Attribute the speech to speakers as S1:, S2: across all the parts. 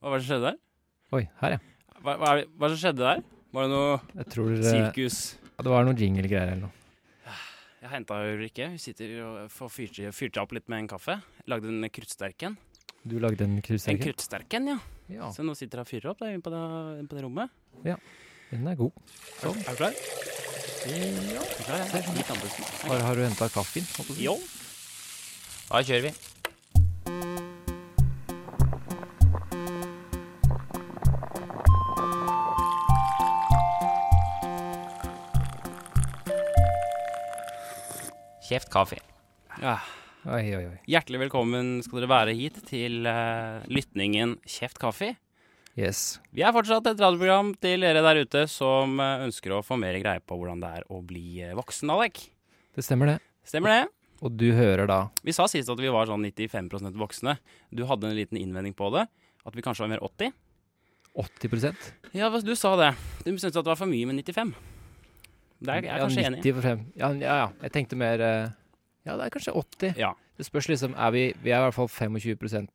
S1: Hva var det som skjedde der?
S2: Oi, her, ja.
S1: Hva, hva, er det- hva er det som skjedde der? Var det noe
S2: Jeg tror det,
S1: sirkus?
S2: ja, det var noen jingle-greier eller noe.
S1: Jeg henta Ulrikke. Hun sitter og får fyrte, fyrte opp litt med en kaffe. Lagde en kruttsterken.
S2: Du lagde en
S1: En
S2: krussekke?
S1: kruttsterken, ja.
S2: Ja,
S1: Så nå sitter hun og fyrer opp der inne på det, på det rommet.
S2: den er god.
S1: Er du klar? Ja. Er du klar? Jeg er litt andpusten.
S2: Har, har du henta kaffen? holdt på å si?
S1: Jo.
S3: Da kjører vi. Kjeft kaffe.
S1: Ja.
S2: Oi, oi, oi.
S1: Hjertelig velkommen skal dere være hit til eh, lytningen Kjeft kaffe.
S2: Yes.
S1: Vi er fortsatt et radioprogram til dere der ute som eh, ønsker å få mer greie på hvordan det er å bli eh, voksen, Alek.
S2: Det stemmer, det.
S1: Stemmer det?
S2: Og du hører da
S1: Vi sa sist at vi var sånn 95 voksne. Du hadde en liten innvending på det. At vi kanskje var mer 80.
S2: 80
S1: Ja, hva- du sa det. Du syntes at det var for mye med 95. Det er jeg er kanskje
S2: ja,
S1: enig i.
S2: 90 for frem. Ja, ja, ja. Jeg tenkte mer eh, Ja, det er kanskje 80.
S1: Ja.
S2: Det spørs liksom er vi, vi er i hvert fall 25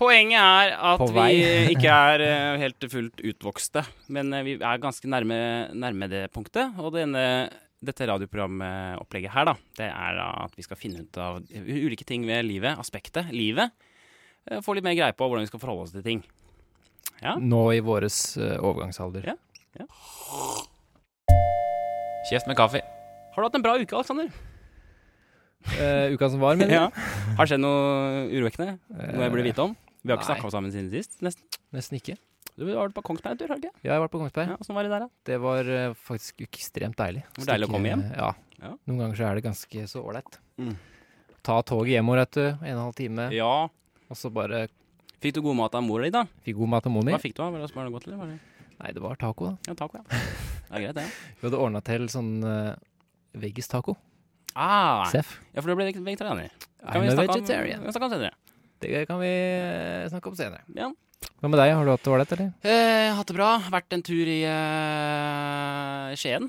S1: Poenget er at
S2: På
S1: vi
S2: vei.
S1: ikke er eh, helt fullt utvokste, men eh, vi er ganske nærme, nærme det punktet. Og denne, dette radioprogramopplegget her, da, det er da at vi skal finne ut av u- ulike ting ved livet, aspektet, livet. Eh, Få litt mer greie på hvordan vi skal forholde oss til ting. Ja.
S2: nå i våres eh, overgangsalder.
S1: Ja.
S3: Kjeft med kaffe.
S1: Har du hatt en bra uke, Aleksander?
S2: Eh, uka som var, mener du?
S1: Ja. Har det skjedd noe urovekkende? Noe jeg burde vite om? Vi har ikke
S2: Nei.
S1: snakka sammen siden sist, nesten.
S2: Nesten ikke.
S1: Du har vært på Kongsberg en tur, har du ikke?
S2: Jeg har vært på Kongsberg.
S1: Ja, Åssen var det der, da?
S2: Det var eh, faktisk ekstremt deilig. eh,
S1: Det var deilig å komme hjem.
S2: Ja.
S1: Ja.
S2: Noen ganger så er det ganske så ålreit.
S1: Mm.
S2: Ta toget hjemover, vet du. En og en halv time.
S1: Ja.
S2: Og så bare
S1: Fikk du god mat av mora di, da?
S2: fikk god mat og moni.
S1: Hva fikk du? da? Var det var det godt, eller? Var det
S2: Nei, det var taco, da.
S1: Ja, taco, ja. Det er greit, det.
S2: Vi hadde ordna til sånn uh, veggistaco.
S1: Ah,
S2: Seff.
S1: ja, for du ble veg- vegetarianer.
S2: I'm a
S1: snakke om-
S2: vegetarian.
S1: vi kan snakke om senere.
S2: Det kan vi eh, snakke om senere.
S1: Ja.
S2: Hva med deg? Har du hatt det ålreit, eller?
S1: Eh, hatt det bra. Vært en tur i eh, Skien.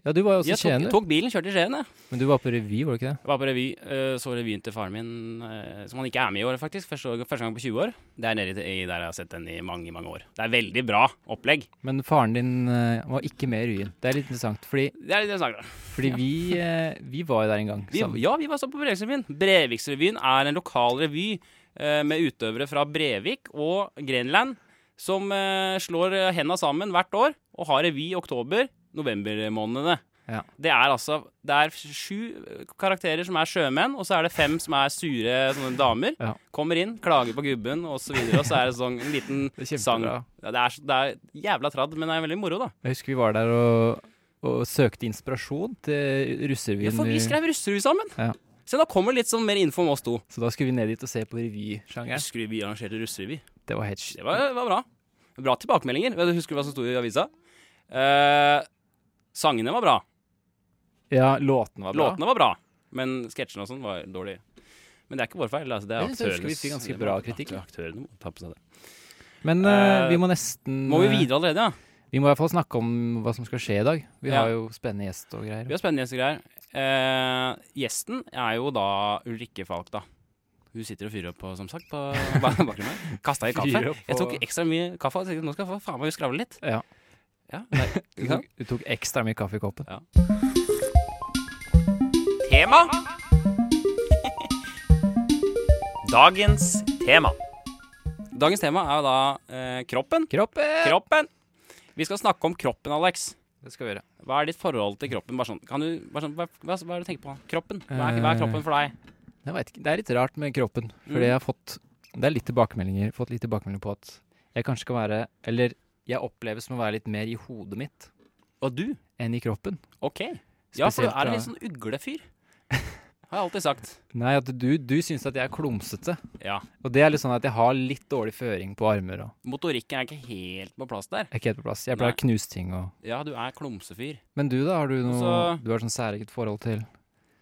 S2: Ja, du var jo også i
S1: Jeg
S2: Skien,
S1: tok,
S2: du.
S1: tok bilen, kjørte til Skien. Jeg
S2: Men du var på revy, var du ikke det?
S1: Jeg var på revy. eh, så revyen til faren min, eh, som han ikke er med i år, faktisk. Første, første gang på 20 år. Det er nede i der jeg har sett den i mange, mange år. Det er veldig bra opplegg.
S2: Men faren din eh, var ikke med i revyen. Det er litt interessant, fordi,
S1: Det er litt interessant. da.
S2: fordi vi, eh, vi var jo der en gang.
S1: Vi,
S2: sammen.
S1: ja, vi var så på Breviksrevyen. Breviksrevyen er en lokal revy eh, med utøvere fra Brevik og Grenland som eh, slår eh, henda sammen hvert år og har revy i oktober-november-månedene.
S2: Ja.
S1: Det er altså Det er sju eh, karakterer som er sjømenn, og så er det fem som er sure sånne damer.
S2: Ja.
S1: Kommer inn, klager på gubben og så videre, og så er det sånn en liten
S2: Det er
S1: sang.
S2: kjempebra.
S1: Ja, det, er, så- det er jævla tradd, men det er veldig moro, da.
S2: Jeg husker vi var der og, og søkte inspirasjon til
S1: Ja,
S2: russerevyen.
S1: for vi
S2: i-
S1: skrev russerevy sammen.
S2: Ja.
S1: Se, da kommer litt sånn mer info om oss to.
S2: Så da skulle vi ned dit og se på revysjangeren.
S1: Husker du vi arrangerte russerevy?
S2: Det var helt sj-
S1: Det var, var bra. Bra tilbakemeldinger. Vet du- Husker du hva som sto i avisa? Eh, sangene var bra.
S2: Ja, låten var bra.
S1: Låtene var bra. Men sketsjene og sånn var dårlig. Men det er ikke vår feil. Altså, det er
S2: Jeg synes jeg husker vi
S1: aktørenes-
S2: fikk ganske
S1: det
S2: bra
S1: må-
S2: kritikk, da.
S1: Aktørene må ta på seg det.
S2: Men eh,
S1: Eh,
S2: vi må nesten
S1: Må vi
S2: eh,
S1: videre allerede, ja?
S2: vi må i hvert fall snakke om hva som skal skje i dag. Vi
S1: Ja.
S2: har jo spennende gjest og
S1: Vi
S2: greier.
S1: har spennende gjester her. Eh, gjesten er jo da Ulrikke Falk, da. Hun sitter og fyrer opp, på, som sagt, på bak- bakgrunnen her. Kasta i kaffe.
S2: Fyrer opp
S1: Jeg tok
S2: på-
S1: ekstra mye kaffe. og tenkte, Nå skal jeg faen meg skravle litt.
S2: Ja.
S1: Ja, nei,
S2: Du tok, du tok ekstra mye kaffe i koppen.
S3: Tema. Dagens tema.
S1: Dagens tema er jo da eh, kroppen.
S2: Kroppen!
S1: Kroppen! Vi skal snakke om kroppen, Alex.
S2: Det skal vi gjøre.
S1: Hva er ditt forhold til kroppen? Bare sånn, kan du, bare sånn, hva, hva, hva er det du tenker på? Kroppen. Hva er, hva er kroppen for deg?
S2: Jeg vet ikke, Det er litt rart med kroppen.
S1: Mm.
S2: Fordi jeg har fått Det er litt tilbakemeldinger Fått litt tilbakemeldinger på at jeg kanskje skal være Eller jeg oppleves som å være litt mer i hodet mitt
S1: Og du?
S2: enn i kroppen.
S1: Ok. Ja, for du
S2: Spesielt
S1: er en
S2: da-
S1: litt sånn uglefyr. Har jeg alltid sagt.
S2: Nei, at du, du syns at jeg er klumsete.
S1: Ja.
S2: Og det er litt sånn at jeg har litt dårlig føring på armer og
S1: Motorikken er ikke helt på plass der.
S2: jeg er ikke helt på plass. Jeg pleier å knuse ting og
S1: Ja, du er klumsefyr.
S2: Men du, da? Har du noe
S1: Så-
S2: Du har sånn særeget forhold til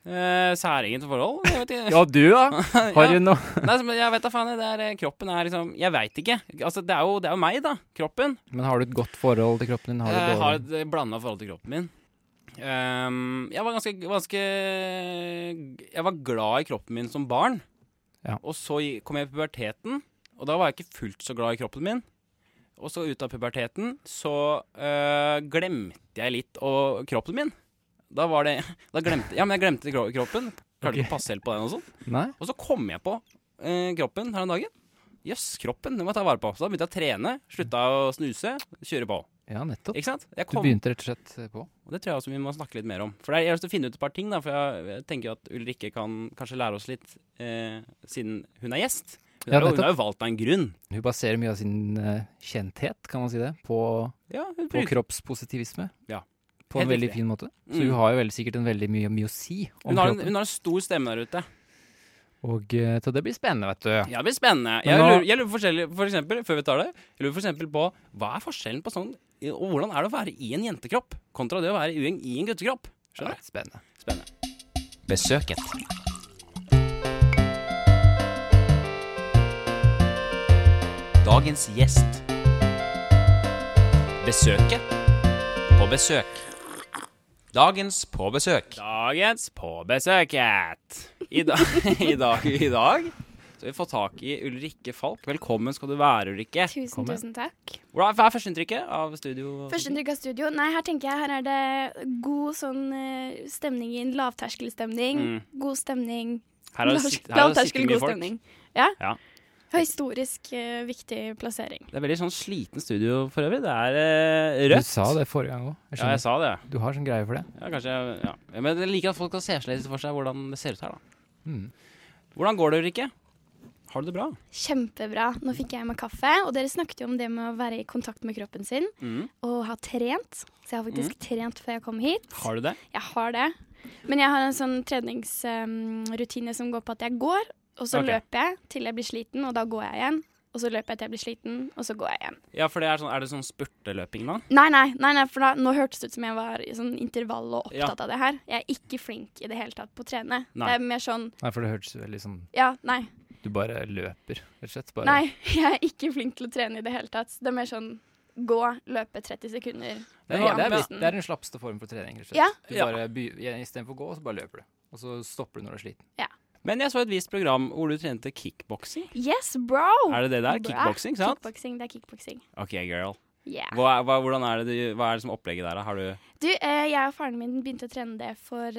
S1: Eh, Særegent forhold? Jeg vet ikke.
S2: Ja, du, da? Har du noe
S1: Nei, som- jeg vet da faen. Det er, eh, kroppen er liksom Jeg veit ikke. Altså, det er, jo, det er jo meg, da. Kroppen.
S2: Men har du et godt forhold til kroppen din? Har du
S1: jeg Eh, har
S2: dårlig
S1: et blanda forhold til kroppen min. Ehm, jeg var ganske, ganske Jeg var glad i kroppen min som barn.
S2: Ja.
S1: Og så gi- kom jeg i puberteten, Og da var jeg ikke fullt så glad i kroppen min. Og så ut av puberteten så øh, glemte jeg litt å, kroppen min. Da var det da glemte, Ja, men jeg glemte kro- kroppen. Klarte
S2: Ok.
S1: ikke å passe helt på den og sånn.
S2: Nei?
S1: Og så kom jeg på øh, kroppen her om dagen. Jøss, kroppen, den må jeg ta vare på. Så da begynte jeg å trene, slutta å snuse, kjøre på.
S2: Ja, nettopp.
S1: Ikke sant? Jeg
S2: Du
S1: kom,
S2: begynte rett og slett eh, på.
S1: og det tror jeg også vi må snakke litt mer om. For det er- jeg har lyst til å finne ut et par ting, da, for jeg, jeg tenker jo at Ulrikke kan kanskje lære oss litt, eh, siden hun er gjest. Hun,
S2: Ja,
S1: har jo- hun
S2: nettopp.
S1: har jo valgt av en grunn.
S2: Hun baserer mye av sin eh, kjenthet, kan man si det, på,
S1: Ja, hun
S2: på
S1: bruker
S2: kroppspositivisme.
S1: Ja.
S2: På en
S1: Helt
S2: veldig
S1: riktig.
S2: fin måte. Så
S1: Mm.
S2: hun har jo veldig sikkert en veldig mye, mye å si om
S1: Hun har, en,
S2: kroppen.
S1: hun har en stor stemme der ute.
S2: Og eh, så det blir spennende, vet du.
S1: Ja, det blir spennende.
S2: Men
S1: Jeg
S2: nå-
S1: lurer, jeg lurer forskjellig- for eksempel, før vi tar det, jeg lurer for eksempel på hva er forskjellen på sånn Og hvordan er det å være i en jentekropp kontra det å være i en, i en guttekropp? Skjønner du?
S2: Spennende.
S1: Spennende.
S3: Besøket. Dagens gjest. Besøket på besøk. Dagens på besøk.
S1: Dagens På besøket. I, da, i, dag, I dag så har vi fått tak i Ulrikke Falk. Velkommen skal du være, Ulrikke.
S4: Tusen,
S2: Kom igjen.
S4: tusen takk.
S1: Hvordan, hva er førsteinntrykket av studio?
S4: Førsteinntrykk av studio. Nei, her tenker jeg her er det god sånn eh, stemning inn. Lavterskelstemning. God stemning.
S1: Mm. Her har det
S4: Lav-
S1: sitt- her har det
S4: lavterskel,
S1: sittet mye
S4: god
S1: folk.
S4: stemning. Ja.
S1: Ja.
S4: Det var Historisk eh, viktig plassering.
S1: Det er veldig sånn sliten studio for øvrig. Det er eh,
S2: Du
S1: rødt.
S2: sa det forrige gang òg.
S1: Ja, jeg sa det.
S2: Du har sånn greie for det.
S1: Ja, kanskje, ja. Ja, Men jeg liker at folk kan se seg litt for seg hvordan det ser ut her, da.
S2: Mm.
S1: Hvordan går det, Ulrikke? Har du det bra?
S4: Kjempebra. Nå fikk jeg meg kaffe, og dere snakket jo om det med å være i kontakt med kroppen sin og ha trent. Så jeg har faktisk
S1: Mm.
S4: trent før jeg kom hit.
S1: Har du det?
S4: Jeg har det. Men jeg har en sånn treningsrutine som går på at jeg går, og så
S1: Ok.
S4: løper jeg til jeg blir sliten, og da går jeg igjen. Og så løper jeg til jeg blir sliten, og så går jeg igjen.
S1: Ja, for det er sånn, er det sånn spurteløping, da?
S4: Nei, nei, nei, nei for da, nå hørtes det ut som jeg var i sånn intervall og
S1: Ja.
S4: opptatt av det her. Jeg er ikke flink i det hele tatt på å trene.
S1: Nei.
S4: Det er mer sånn
S2: Nei, for det hørtes veldig sånn
S4: Ja, nei.
S2: Du bare løper, rett og slett. Bare.
S4: Nei, jeg er ikke flink til å trene i det hele tatt. Det er mer sånn gå, løpe 30 sekunder.
S2: Det, er,
S1: Ja,
S2: det, er,
S1: men-
S2: mest- det er den slappeste form for trening, rett og slett.
S4: Ja.
S2: Du
S1: Ja.
S2: bare by- ja, Istedenfor å gå, så bare løper du. Og så stopper du når du er sliten.
S1: Men jeg så et visst program hvor du trente kickboksing.
S4: Yes, bro!
S1: Er det det der?
S4: Bra.
S1: Kickboksing, sant?
S4: Kickboksing, det er kickboksing.
S1: OK, girl.
S4: Yeah.
S1: Hva, er- hva, hvordan er det, du, hva er det som er opplegget der, da? Har du
S4: Du, eh, jeg og faren min begynte å trene det for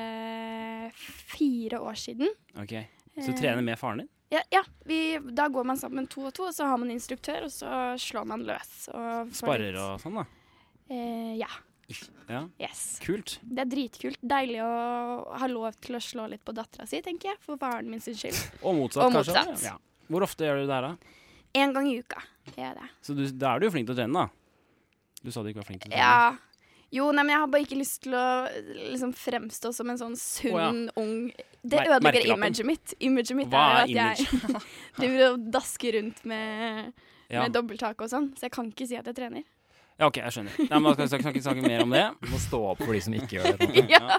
S4: eh, fire år siden.
S1: OK. Så du
S4: Eh,
S1: trener med faren din?
S4: Ja, ja vi, da går man sammen to og to, og så har man instruktør, og så slår man løs. Og får
S1: Sparrer
S4: litt-
S1: og sånn, da?
S4: eh, Ja.
S1: Ja.
S4: Yes.
S1: Kult.
S4: Det er dritkult. Deilig å ha lov til å slå litt på dattera si, tenker jeg. For faren min sin skyld.
S1: Og motsatt,
S4: Og
S1: kanskje?
S4: motsatt.
S1: Ja. Hvor ofte gjør du det her, da?
S4: En gang i uka gjør jeg det.
S1: Så du, da er du jo flink til å trene, da. Du sa du ikke var flink til å trene.
S4: Ja. Jo, nei, men jeg har bare ikke lyst til å liksom fremstå som en sånn
S1: Å,
S4: sunn, ung Det
S1: Mer-
S4: ødelegger
S1: merkelappen.
S4: imaget mitt. Imaget mitt
S1: Hva
S4: er jo
S1: er
S4: at jeg driver og dasker rundt med
S1: Ja.
S4: med dobbelttake og sånn, så jeg kan ikke si at jeg trener.
S1: ja, OK, jeg skjønner. Nei, men Da skal vi snakke, snakke, snakke mer om det.
S2: Du må stå opp for de som ikke gjør det. på en måte.
S1: Ja.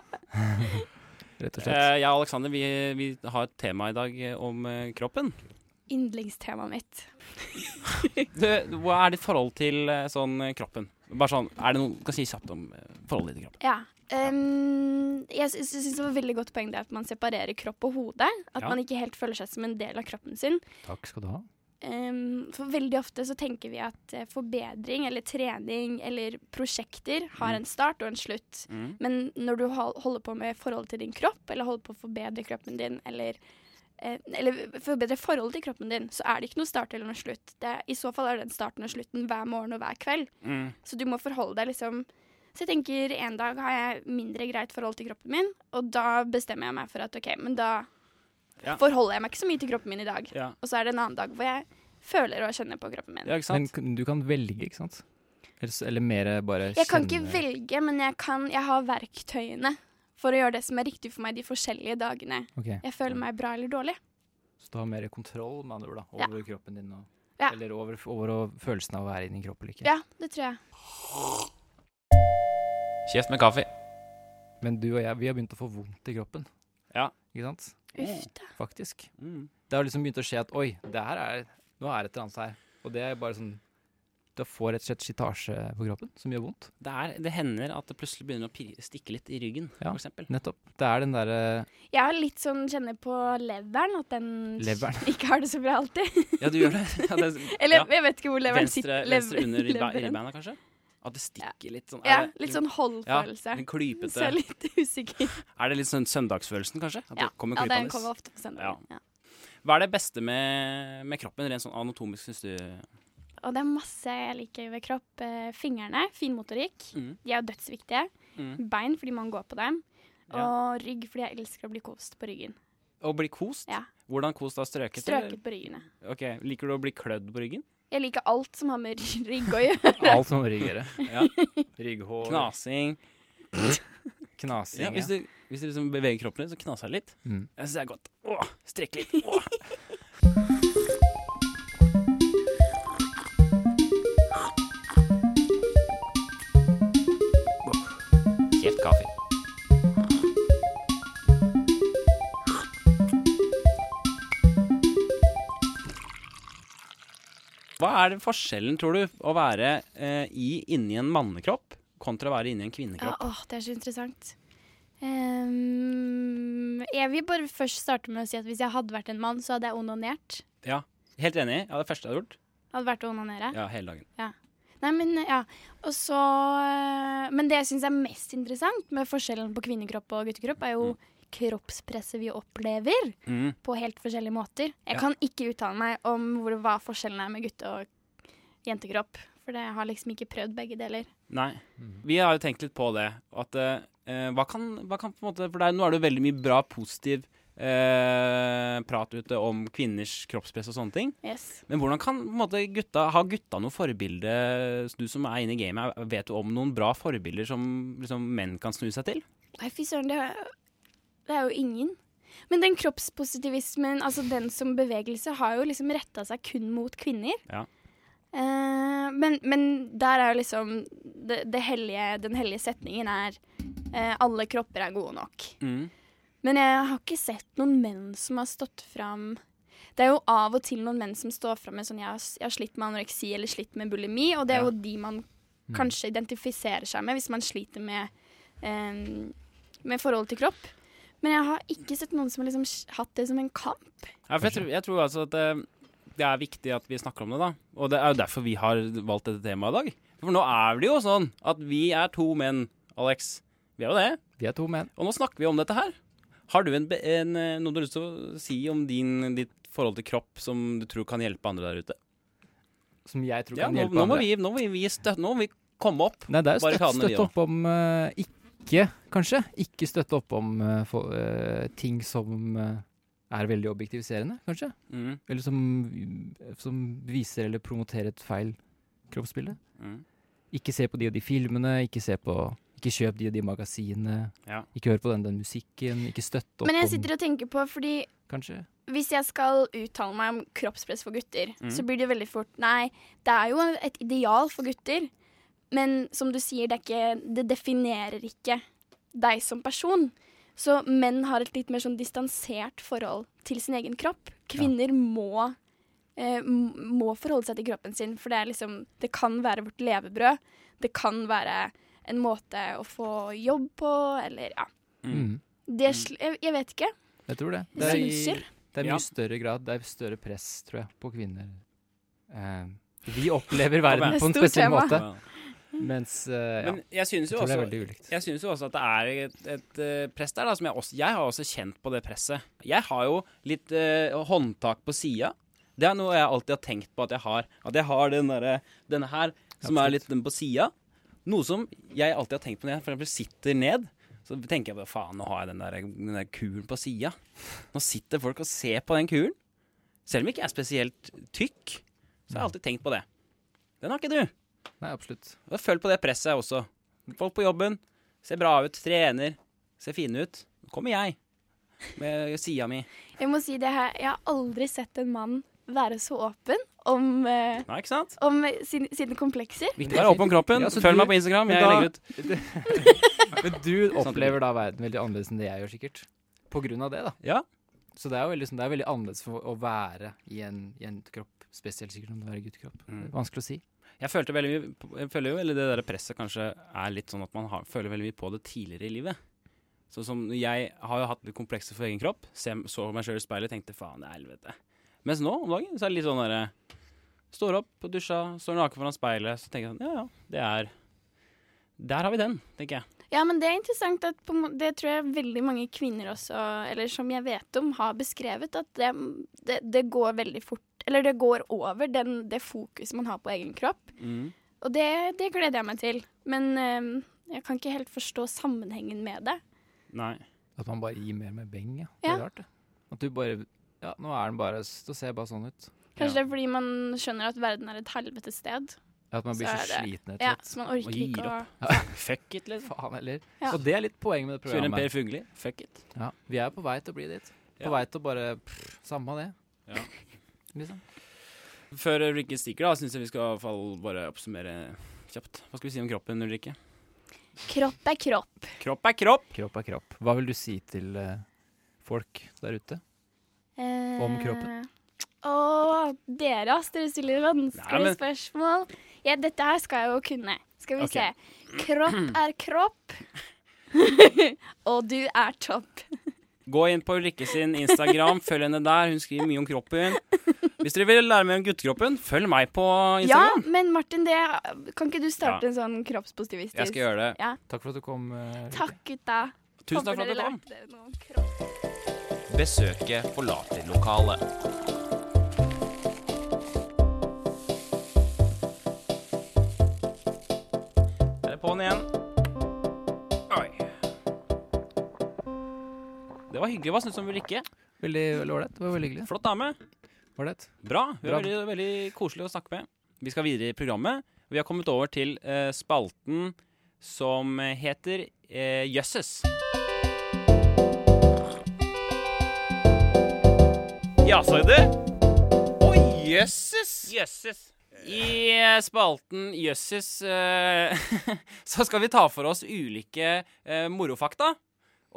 S2: Rett og
S1: Eh,
S2: slett.
S1: jeg og Aleksander, vi, vi har et tema i dag eh, om eh, kroppen.
S4: Yndlingstemaet mitt.
S1: Du, hva er ditt forhold til eh, sånn eh, kroppen? Bare sånn, er det noe du kan si kjapt om eh, forholdet ditt til kroppen?
S4: Ja. ehm, jeg sy- sy- syns det var et veldig godt poeng det at man separerer kropp og hode. At
S1: Ja.
S4: man ikke helt føler seg som en del av kroppen sin.
S2: Takk skal du ha.
S4: Ehm, for veldig ofte så tenker vi at eh, forbedring eller trening eller prosjekter har en start og en slutt.
S1: Mm.
S4: Men når du hol- holder på med forholdet til din kropp, eller holder på å forbedre kroppen din, eller, eh, eller forbedre forholdet til kroppen din, så er det ikke noe start eller noe slutt. Det, er- I så fall er den starten og slutten hver morgen og hver kveld.
S1: Mm.
S4: Så du må forholde deg liksom Så jeg tenker en dag har jeg mindre greit forhold til kroppen min, og da bestemmer jeg meg for at OK, men da
S1: Ja.
S4: forholder jeg meg ikke så mye til kroppen min i dag.
S1: Ja.
S4: Og så er det en annen dag hvor jeg føler og kjenner på kroppen min.
S1: ja, ikke
S2: Men
S1: sant?
S2: k- du kan velge, ikke sant? Eller, s- eller mer bare
S4: Jeg kan ikke
S2: kjenne-
S4: velge, men jeg, kan, jeg har verktøyene for å gjøre det som er riktig for meg de forskjellige dagene.
S2: Ok,
S4: Jeg føler meg bra eller dårlig.
S2: Så du har mer kontroll med andre ord da,
S4: Ja.
S2: over kroppen din? Og,
S4: Ja.
S2: Eller over, over å- følelsen av å være inni kroppen eller ikke?
S4: Ja, det tror jeg.
S3: Kjeft med kaffe.
S2: Men du og jeg, vi har begynt å få vondt i kroppen.
S1: Ja.
S2: Ikke sant?
S4: Uff da.
S2: Faktisk.
S1: Mm.
S2: Det har liksom begynt å skje at oi, det her er Nå er det et eller annet her. Og det er bare sånn Du får rett og slett skitasje på kroppen som gjør vondt.
S1: Det, er, det hender at det plutselig begynner å pirre- stikke litt i ryggen,
S2: Ja.
S1: for eksempel.
S2: Nettopp. Det er den derre
S4: Jeg har litt sånn kjenner på leveren, at den
S2: leveren.
S4: ikke har det så bra alltid.
S1: Ja, du gjør det. Ja, det
S4: Eller
S1: ja.
S4: jeg vet ikke hvor leveren
S1: venstre,
S4: sitter.
S1: venstre under ribba-
S4: leveren.
S1: ribbeina, kanskje? At det stikker litt sånn.
S4: Ja,
S1: Er det-
S4: litt sånn
S1: En
S4: holdfølelse. Så jeg
S1: klypete
S4: er litt usikker.
S1: Er det litt sånn søndagsfølelsen, kanskje? At
S4: Ja,
S1: det kommer
S4: ja, den
S1: klypende?
S4: kommer ofte på søndag. Ja.
S1: Hva er det beste med, med kroppen, rent sånn anatomisk, syns du?
S4: Og det er masse jeg liker ved kropp. Eh, Fingrene, finmotorikk.
S1: Mm.
S4: De er jo dødsviktige.
S1: Mm.
S4: Bein fordi man går på dem. Og
S1: Ja.
S4: rygg fordi jeg elsker å bli kost på ryggen.
S1: Å bli kost?
S4: Ja.
S1: Hvordan kost da? Strøket?
S4: Strøket på ryggene.
S1: eller? Ok, Liker du å bli klødd på ryggen?
S4: Jeg liker alt som har med rygg å gjøre.
S2: Alt som ryggere.
S1: Ja.
S2: Rygghår.
S1: Knasing?
S2: Knasing.
S1: Ja,
S2: Ja,
S1: hvis, du, hvis du liksom beveger kroppen litt, så knaser det litt.
S2: Mm.
S1: Jeg syns det er godt. Åh, strekk litt. Åh.
S3: Kjeft kaffe.
S1: Hva er det forskjellen, tror du, å være eh, i inni en mannekropp kontra å være inni en
S4: Ja,
S1: kvinnekropp?
S4: åh, det er så interessant. Ehm, jeg vil bare først starte med å si at hvis jeg hadde vært en mann, så hadde jeg onanert.
S1: Ja. Helt enig. Ja, det første jeg hadde gjort.
S4: Hadde vært å onanere.
S1: Ja, hele dagen.
S4: Nei, men ja. Og så eh, Men det jeg syns er mest interessant med forskjellen på kvinnekropp og guttekropp, er jo kroppspresset vi opplever
S1: Mm.
S4: på helt forskjellige måter. Jeg
S1: Ja.
S4: kan ikke uttale meg om hvor, hva forskjellen er med gutte- og jentekropp. For det- jeg har liksom ikke prøvd begge deler.
S1: Nei. Vi har jo tenkt litt på det. At eh, hva, kan, hva kan på en måte For det er, nå er det jo veldig mye bra, positiv eh, prat ute om kvinners kroppspress og sånne ting.
S4: Yes.
S1: Men hvordan kan på en måte, gutta ha gutta noe forbilde? Du som er inne i gamet, vet du om noen bra forbilder som liksom, menn kan snu seg til?
S4: Nei, fy søren, det, er- det er jo ingen. Men den kroppspositivismen, altså den som bevegelse, har jo liksom retta seg kun mot kvinner.
S1: Ja.
S4: Eh, men, men der er jo liksom det, det hellige, Den hellige setningen er eh, alle kropper er gode nok. Men jeg har ikke sett noen menn som har stått fram Det er jo av og til noen menn som står fram med sånn jeg har, s- 'Jeg har slitt med anoreksi eller slitt med bulimi', og det er
S1: Ja.
S4: jo de man kanskje identifiserer seg med hvis man sliter med, eh, med forholdet til kropp. Men jeg har ikke sett noen som har liksom s- hatt det som en kamp.
S1: Ja, for jeg tror, jeg tror altså at eh, det er viktig at vi snakker om det, da. Og det er jo derfor vi har valgt dette temaet i dag. For nå er det jo sånn at vi er to menn, Alex. Vi er jo det.
S2: Vi er to menn.
S1: Og nå snakker vi om dette her. Har du en, be- en, eh, noe du har lyst til å si om din, ditt forhold til kropp som du tror kan hjelpe andre der ute?
S2: Som jeg tror
S1: Ja,
S2: kan
S1: nå,
S2: hjelpe
S1: nå, må
S2: andre.
S1: vi, nå, må vi, støtte, nå må vi komme opp.
S2: Nei, det er jo støtt,
S1: Barrikadene, vi
S2: støtt opp om eh, Ikke, kanskje. Ikke støtte opp om eh, for, eh, ting som eh, er veldig objektiviserende, kanskje.
S1: Mm,
S2: Eller som, som viser eller promoterer et feil kroppsbilde.
S1: mm.
S2: Ikke se på de og de filmene, ikke se på ikke kjøp de og de magasinene.
S1: Ja.
S2: Ikke hør på den, den musikken. Ikke støtt opp
S4: Men jeg
S2: om
S4: sitter og tenker på, fordi
S2: Kanskje.
S4: hvis jeg skal uttale meg om kroppspress for gutter,
S1: Mm.
S4: så blir det veldig fort Nei, det er jo et ideal for gutter, men som du sier, det, er ikke, det definerer ikke deg som person. Så menn har et litt mer sånn distansert forhold til sin egen kropp. Kvinner må, eh, m- må forholde seg til kroppen sin, for det, er liksom, det kan være vårt levebrød. Det kan være en måte å få jobb på, eller ja.
S1: Mm.
S2: Mm.
S4: Det, sl- jeg, jeg vet ikke.
S2: Jeg tror det.
S4: Det
S2: Det er,
S4: synser.
S2: i, det er mye
S1: Ja.
S2: større grad, det er større press, tror jeg, på kvinner. Eh, vi opplever
S1: Det
S2: verden
S4: er
S2: på en
S4: stort
S2: spesiell
S4: tema.
S2: måte, mens eh, ja.
S1: Mm. Men jeg synes
S2: Jeg
S1: jo
S2: tror det er
S1: også
S2: veldig ulikt.
S1: Jeg synes jo også at det er et, et eh, press der, da, som jeg også Jeg har også kjent på det presset. Jeg har jo litt eh, håndtak på sida. Det er noe jeg alltid har tenkt på at jeg har. At jeg har den derre- denne her, som
S2: Absolutt.
S1: er litt den på sida. Noe som jeg alltid har tenkt på når jeg for eksempel sitter ned. Så tenker jeg bare faen, nå har jeg den der, den der kulen på sida. Nå sitter folk og ser på den kulen. Selv om jeg ikke er spesielt tykk, så har jeg alltid tenkt på det. Den har ikke du.
S2: Nei, absolutt.
S1: Og jeg føler på det presset også. Folk på jobben ser bra ut, trener, ser fine ut. Nå kommer jeg med sida mi.
S4: Jeg må si det her, jeg har aldri sett en mann være så åpen om, eh,
S1: Nei, ikke sant?
S4: om sin, sine komplekser.
S1: Viktig å være åpen om kroppen.
S2: Ja, så
S1: Følg
S2: du-
S1: meg på Instagram.
S2: Men
S1: Jeg
S2: da-
S1: legger ut.
S2: Men du opplever da verden veldig annerledes enn det jeg gjør, sikkert. På grunn av det, da.
S1: Ja.
S2: Så det er jo veldig, sånn, det er veldig annerledes for å være i en jentekropp, spesielt sikkert om det er guttekropp.
S1: Mm.
S2: Vanskelig å si.
S1: Jeg, følte veldig, mye- jeg føler jo veldig det der presset kanskje er litt sånn at man har, føler veldig mye på det tidligere i livet. Sånn som jeg har jo hatt litt komplekser for egen kropp. Se, så meg sjøl i speilet og tenkte faen, det er helvete. Mens nå om dagen så er det litt sånn derre Står opp og dusja, står naken foran speilet, så tenker jeg sånn ja ja, det er Der har vi den, tenker jeg.
S4: Ja, men det er interessant at på, en må- det tror jeg veldig mange kvinner også, eller som jeg vet om, har beskrevet at det, det, det går veldig fort. Eller det går over den, det fokuset man har på egen kropp.
S1: Mm.
S4: Og det, det gleder jeg meg til. Men eh, jeg kan ikke helt forstå sammenhengen med det.
S1: Nei.
S2: At man bare gir mer med beng, ja. Det
S4: Ja.
S2: er rart, det. At du bare Ja, nå er den bare Da ser jeg bare sånn ut.
S4: Kanskje det
S1: Ja.
S4: er fordi man skjønner at verden er et helvete sted.
S2: At man blir
S4: Så
S2: så,
S4: er det-
S2: sliten etter
S4: Ja,
S2: hvert.
S4: så man orker
S1: Og gir
S4: ikke å
S1: Fuck it, liksom.
S2: Faen heller.
S4: Ja.
S2: Og det er litt poenget med det
S1: Spør en
S2: programmet.
S1: Per Fugli. Fuck it.
S2: Ja. Vi er på vei til å bli dit. På
S1: Ja.
S2: vei til å bare pff, Samme det.
S1: Ja.
S2: Liksom.
S1: Før Ulrikke stikker, da, syns jeg vi skal i hvert fall bare oppsummere kjapt. Hva skal vi si om kroppen, Ulrikke?
S4: Kropp er kropp.
S1: Kropp er kropp.
S2: Kropp er kropp. Hva vil du si til eh, folk der ute?
S4: Eh,
S2: Om kroppen.
S4: Å, dere, ass. Dere stiller
S1: Nei,
S4: vanskelige
S1: men-
S4: spørsmål. Ja, dette her skal jeg jo kunne. Skal vi
S1: Ok.
S4: se. Kropp er kropp. og du er topp.
S1: Gå inn på Ulrikke sin Instagram, følg henne der. Hun skriver mye om kroppen. Hvis dere vil lære mer om guttekroppen, følg meg på
S4: Ja,
S1: Instagram.
S4: men Martin, det, kan ikke du starte
S1: Ja.
S4: en sånn kroppspositivistisk
S1: Jeg skal gjøre det.
S2: Takk for at du kom. eh,
S4: Takk, gutta.
S1: Tusen takk for at du kom.
S4: kom.
S3: Besøket forlater lokalet.
S1: Er det på'n igjen? Oi. Det var hyggelig. Hva syns du om Ulrikke?
S2: Veldig veldig ålreit. Det var veldig hyggelig.
S1: Flott dame.
S2: Ålreit.
S1: Bra. Hun
S2: Bra.
S1: er veldig, veldig koselig å snakke med. Vi skal videre i programmet. Vi har kommet over til eh, spalten som heter eh, Jøsses. Ja, sa jeg det? Å, jøsses! Jøsses. I eh, spalten Jøsses eh, så skal vi ta for oss ulike eh, morofakta.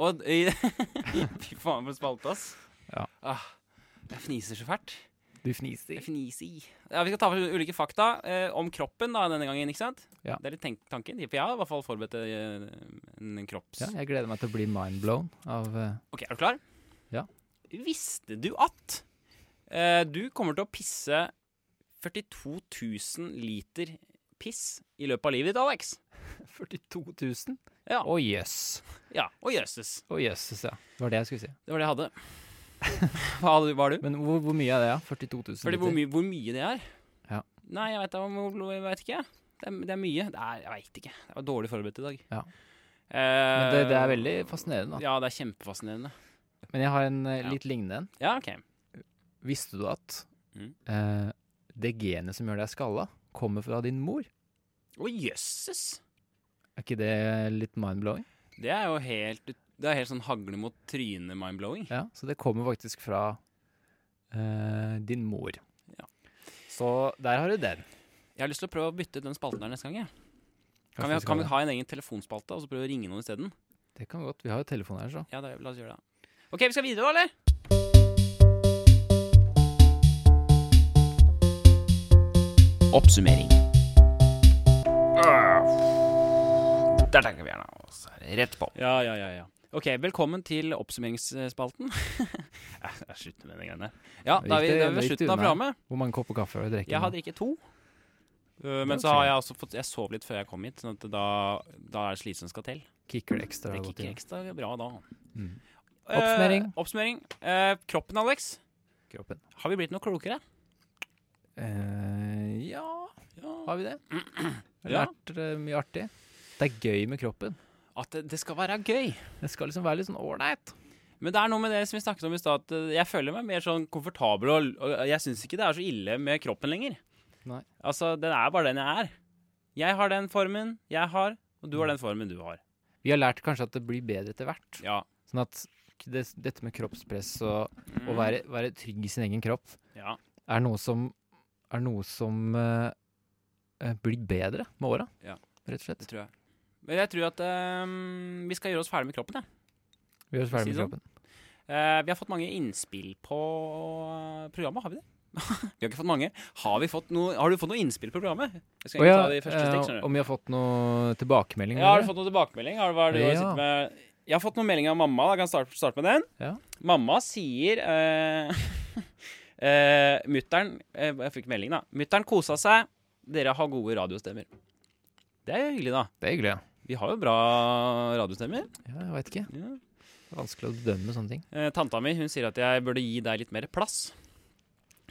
S1: Og i Fy faen, for en spalte, ass.
S2: Ja.
S1: Ah, jeg fniser så fælt.
S2: Du fniser.
S1: Fnisi. Ja, vi skal ta for oss ulike fakta eh, om kroppen da, denne gangen, ikke sant?
S2: Ja.
S1: Det er litt tenk tanken. For jeg har i hvert fall forberedt eh, en kropps...
S2: Ja, jeg gleder meg til å bli mindblown av eh,
S1: Ok, er du klar?
S2: Ja.
S1: Visste du at eh, du kommer til å pisse 42 000 liter piss i løpet av livet ditt, Alex?
S2: 42 000?
S1: Ja.
S2: Å jøss.
S1: Ja, og jøsses.
S2: Å jøsses, ja. Det var det jeg skulle si.
S1: Det var det jeg hadde. Hva hadde- var du?
S2: Men hvor, hvor mye er det, ja? 42 000
S1: Fordi hvor, mye- hvor mye det er?
S2: Ja.
S1: Nei, jeg vet, da, hvor- hvor- jeg vet ikke. Det er, det er mye. Det er, jeg veit ikke. Jeg var dårlig forberedt i dag.
S2: Ja.
S1: Eh,
S2: Men det, det er veldig fascinerende.
S1: Ja, det er kjempefascinerende.
S2: Da. Men jeg har en eh,
S1: Ja.
S2: litt lignende en.
S1: Ja, ok.
S2: Visste du at
S1: Mm.
S2: eh, det genet som gjør deg skalla, kommer fra din mor?
S1: Å, jøsses!
S2: Er ikke det litt mindblowing?
S1: Det er jo helt Det er helt sånn hagle mot trynet-mindblowing.
S2: Ja, så det kommer faktisk fra eh, din mor.
S1: Ja.
S2: Så der har du den.
S1: Jeg har lyst til å prøve å bytte ut den spalten der neste gang. Jeg. Kan,
S2: Kanskje
S1: vi, kan
S2: skal
S1: vi ha en egen telefonspalte, og så prøve å ringe noen isteden?
S2: Det kan vi godt. Vi har jo telefon her, så.
S1: Ja, det, la oss gjøre det. OK, vi skal videre, da, eller?
S3: Oppsummering. Der tenker vi gjerne oss rett på.
S1: Ja, ja, ja. ja. OK, velkommen til oppsummeringsspalten. Eh, Jeg slutter med de greiene der. Ja,
S2: Nå
S1: da er vi,
S2: gikk det-
S1: da er vi
S2: nå
S1: ved
S2: gikk det
S1: slutten av
S2: unna.
S1: programmet.
S2: Hvor mange kopper kaffe har du drukket?
S1: Jeg
S2: nå?
S1: har drikket to. Uh, men
S2: Det er
S1: så har
S2: ok.
S1: jeg også fått Jeg sov litt før jeg kom hit, sånn at da, da er det slitsomt skal til.
S2: Kicker det ekstra
S1: Det
S2: godt i
S1: kicker
S2: dag.
S1: ekstra bra da.
S2: Mm.
S1: Eh,
S2: Oppsummering.
S1: oppsummering. Eh, kroppen, Alex.
S2: Kroppen.
S1: Har vi blitt noe klokere?
S2: Eh, ja,
S1: Ja.
S2: har vi det? Jeg
S1: Ja.
S2: har lært eh, mye artig. Det er gøy med kroppen.
S1: At det, det skal være gøy.
S2: Det skal liksom være litt sånn ålreit.
S1: Men det er noe med det som vi snakket om i stad, at eh, jeg føler meg mer sånn komfortabel, og, og jeg syns ikke det er så ille med kroppen lenger.
S2: Nei.
S1: Altså, den er bare den jeg er. Jeg har den formen jeg har, og du har den formen du har.
S2: Vi har lært kanskje at det blir bedre etter hvert.
S1: Ja.
S2: Sånn at det, dette med kroppspress og
S1: Mm.
S2: å være, være trygg i sin egen kropp
S1: Ja.
S2: er noe som, er noe som eh, eh, blir bedre med åra,
S1: Ja.
S2: rett og
S1: Det
S2: slett.
S1: tror jeg. Men jeg tror at ehm, vi skal gjøre oss ferdig med kroppen. Jeg.
S2: Vi gjør oss
S1: Si
S2: ferdig med
S1: sånn.
S2: kroppen.
S1: Eh, vi har fått mange innspill på eh, programmet, har vi det? vi har ikke fått mange. Har, vi fått noe, har du fått noe innspill på programmet? Jeg skal
S2: Å
S1: egentlig
S2: ja,
S1: ta det i første stikk,
S2: eh,
S1: skjønner du.
S2: om vi har fått noe tilbakemelding?
S1: Ja, har du
S2: eller?
S1: fått noen tilbakemelding? Har du, hva er det du har
S2: Ja.
S1: sittet med? Jeg har fått noen meldinger av mamma. da. Jeg kan starte, starte med den.
S2: Ja.
S1: Mamma sier uh, Mutter'n eh, Jeg fikk melding, da. Mutter'n kosa seg. Dere har gode radiostemmer. Det er jo hyggelig, da.
S2: Det er hyggelig. ja.
S1: Vi har jo bra radiostemmer.
S2: Ja, jeg veit ikke.
S1: Ja.
S2: Det er vanskelig å bedømme sånne ting.
S1: Eh, tanta mi hun sier at jeg burde gi deg litt mer plass.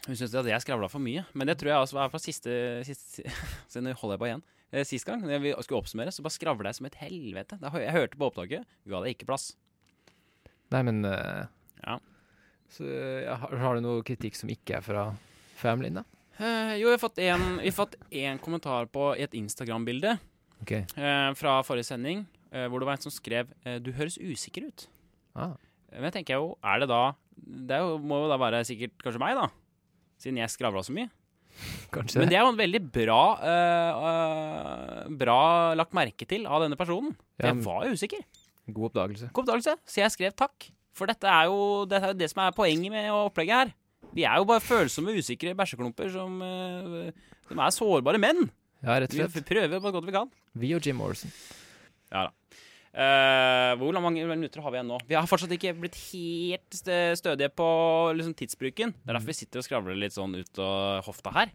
S1: Hun syns at jeg skravla for mye, men det tror jeg også var fra siste, siste Så nå holder jeg på igjen. Eh, sist gang når vi skulle oppsummere, så bare skravla jeg som et helvete. Da, hø- jeg hørte på opptaket, ga deg ikke plass.
S2: Nei, men eh,
S1: Ja.
S2: så, ja, har, har du noe kritikk som ikke er fra familien, da?
S1: Eh, jo, vi har fått en, vi har fått en kommentar på i et Instagram-bilde
S2: Ok.
S1: eh, fra forrige sending, eh, hvor det var en som skrev eh, 'Du høres usikker ut'.
S2: Ah.
S1: Men jeg tenker jo, er det da Det er jo, må jo da være sikkert kanskje meg, da. Siden jeg skravla så mye.
S2: Kanskje
S1: Men det er jo en veldig bra øh, øh, Bra lagt merke til av denne personen. For
S2: Ja,
S1: jeg
S2: men-
S1: var jo usikker.
S2: God oppdagelse.
S1: God oppdagelse. Så jeg skrev takk. For dette er jo det, er jo det som er poenget med opplegget her. Vi er jo bare følsomme, usikre bæsjeklumper som, øh, som er sårbare menn.
S2: Ja, rett og
S1: Vi
S2: slett.
S1: prøver så godt vi kan.
S2: Vi og Jim Morrison.
S1: Eh, hvor mange minutter har vi igjen nå? Vi har fortsatt ikke blitt helt stø- stødige på liksom, tidsbruken. Det er derfor vi sitter og skravler litt sånn ut av hofta her.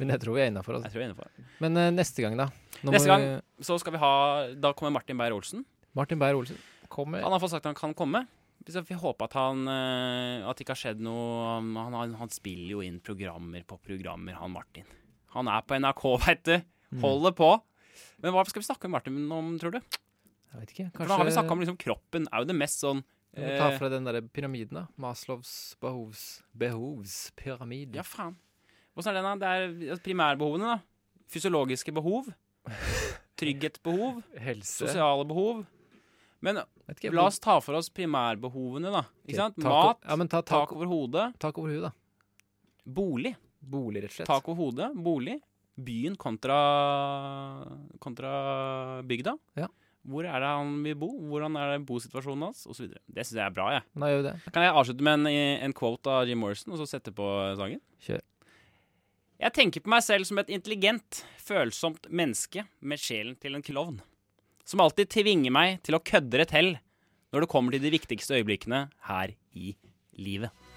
S2: Men jeg tror vi er innafor.
S1: Jeg
S2: Altså.
S1: tror vi er innenfor.
S2: Men eh, neste gang, da? Nå må
S1: Neste gang.
S2: vi-
S1: Så skal vi ha Da kommer Martin Beyer-Olsen.
S2: Martin Beyer-Olsen kommer.
S1: Han har fått sagt at han kan komme. Så vi håper at, han, eh, at det ikke har skjedd noe Han, han, han spiller jo inn programmer på programmer, han Martin. Han er på NRK, veit du.
S2: Mm.
S1: Holder på. Men hva skal vi snakke med Martin om, tror du?
S2: Jeg vet ikke.
S1: For da har vi
S2: Kanskje
S1: snakka om liksom, kroppen. Er jo det mest sånn
S2: vi må ta
S1: eh,
S2: fra den der pyramiden, da. Maslows behovs... behovspyramide.
S1: Ja, faen. Åssen er den, da? Det er altså primærbehovene, da. Fysiologiske behov. Trygghetsbehov.
S2: Helse
S1: Sosiale behov. Men
S2: Vet ikke,
S1: la oss ta for oss primærbehovene, da.
S2: Ok,
S1: Ikke sant?
S2: tak o-
S1: Mat,
S2: Ja, men ta tak,
S1: tak over hodet,
S2: tak over huet, da.
S1: bolig.
S2: Bolig, rett og slett.
S1: Tak over hodet, bolig. Byen kontra, kontra bygda.
S2: Ja.
S1: Hvor er det han vil bo? Hvordan er det bosituasjonen hans? Og så videre. det syns jeg er bra. jeg.
S2: Nå gjør vi det.
S1: Kan jeg avslutte med en, en quote av Jim Morrison, og så sette på sangen?
S2: Kjør.
S1: Jeg tenker på meg selv som et intelligent, følsomt menneske med sjelen til en klovn. Som alltid tvinger meg til å kødde det til når det kommer til de viktigste øyeblikkene her i livet.